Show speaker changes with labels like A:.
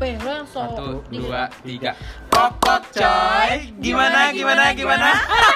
A: Weh, lo yang so
B: Satu, dua, tiga.
C: Popok coy. Gimana gimana gimana?